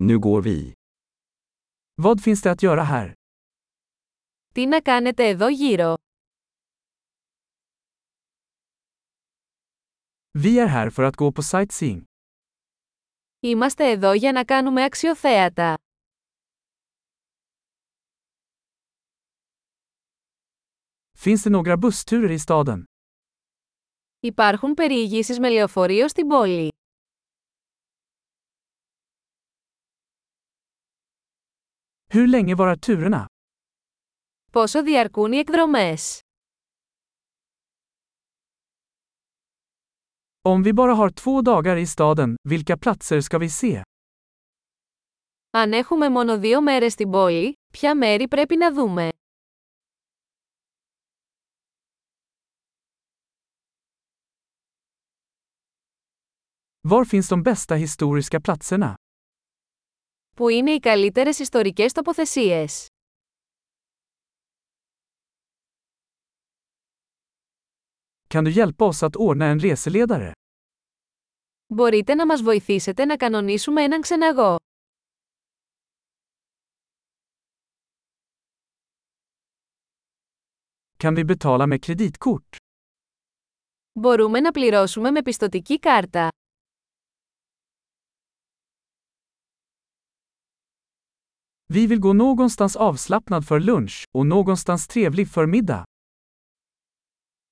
Nu går vi. Vad finns det att göra här? Τι να κάνετε εδώ γύρω. Vi är här för att gå på sightseeing. Είμαστε εδώ για να κάνουμε αξιοθέατα. Finns det några bussturer i staden? Υπάρχουν περιηγήσεις με λεωφορείο στην πόλη. Hur länge varar turerna? Πόσο διαρκούν οι εκδρομές. Om vi bara har två dagar i staden, vilka platser ska vi se? Αν έχουμε μόνο δύο μέρες στην πόλη, ποια μέρη πρέπει να δούμε. Var finns de bästa historiska platserna? Πού είναι οι καλύτερες ιστορικές τοποθεσίες. Kan du hjälpa oss att ordna en reseledare? Μπορείτε να μας βοηθήσετε να κανονίσουμε έναν ξεναγό. Kan vi betala med kreditkort? Μπορούμε να πληρώσουμε με πιστοτική κάρτα. Vi vill gå någonstans avslappnad för lunch och någonstans trevlig för middag.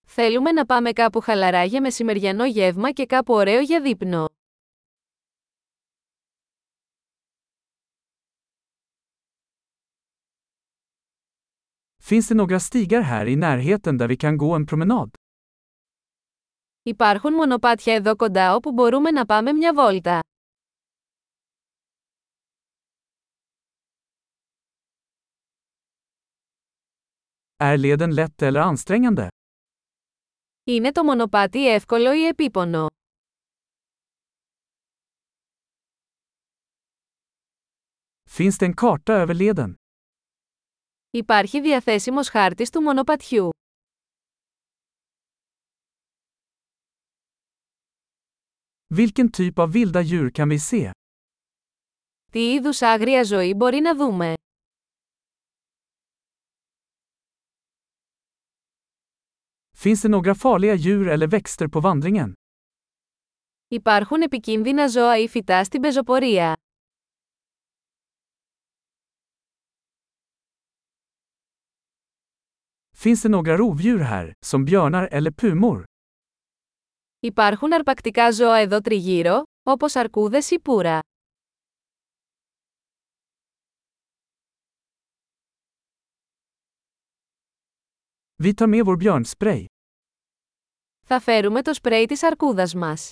Θέλουμε να πάμε κάπου χαλαρά για μεσημεριανό γεύμα και κάπου ωραίο για δείπνο. Finns det några stigar här i närheten där vi kan gå en promenad? Υπάρχουν μονοπάτια εδώ κοντά όπου μπορούμε να πάμε μια βόλτα. Är leden lätt eller ansträngande? Είναι το μονοπάτι εύκολο ή επίπονο. Finns det en karta över leden? Υπάρχει διαθέσιμος χάρτης του μονοπατιού. Vilken typ av vilda djur kan vi se? Τι είδους άγρια ζωή μπορεί να δούμε. Finns det några farliga djur eller växter på vandringen? Υπάρχουν επικίνδυνα ζώα ή φυτά στην πεζοπορία. Finns det några rovdjur här, som björnar eller pumor? Υπάρχουν αρπακτικά ζώα εδώ τριγύρω, όπως αρκούδες ή πουρα. Vi tar med vår björnspray. Θα φέρουμε το σπρέι της αρκούδας μας.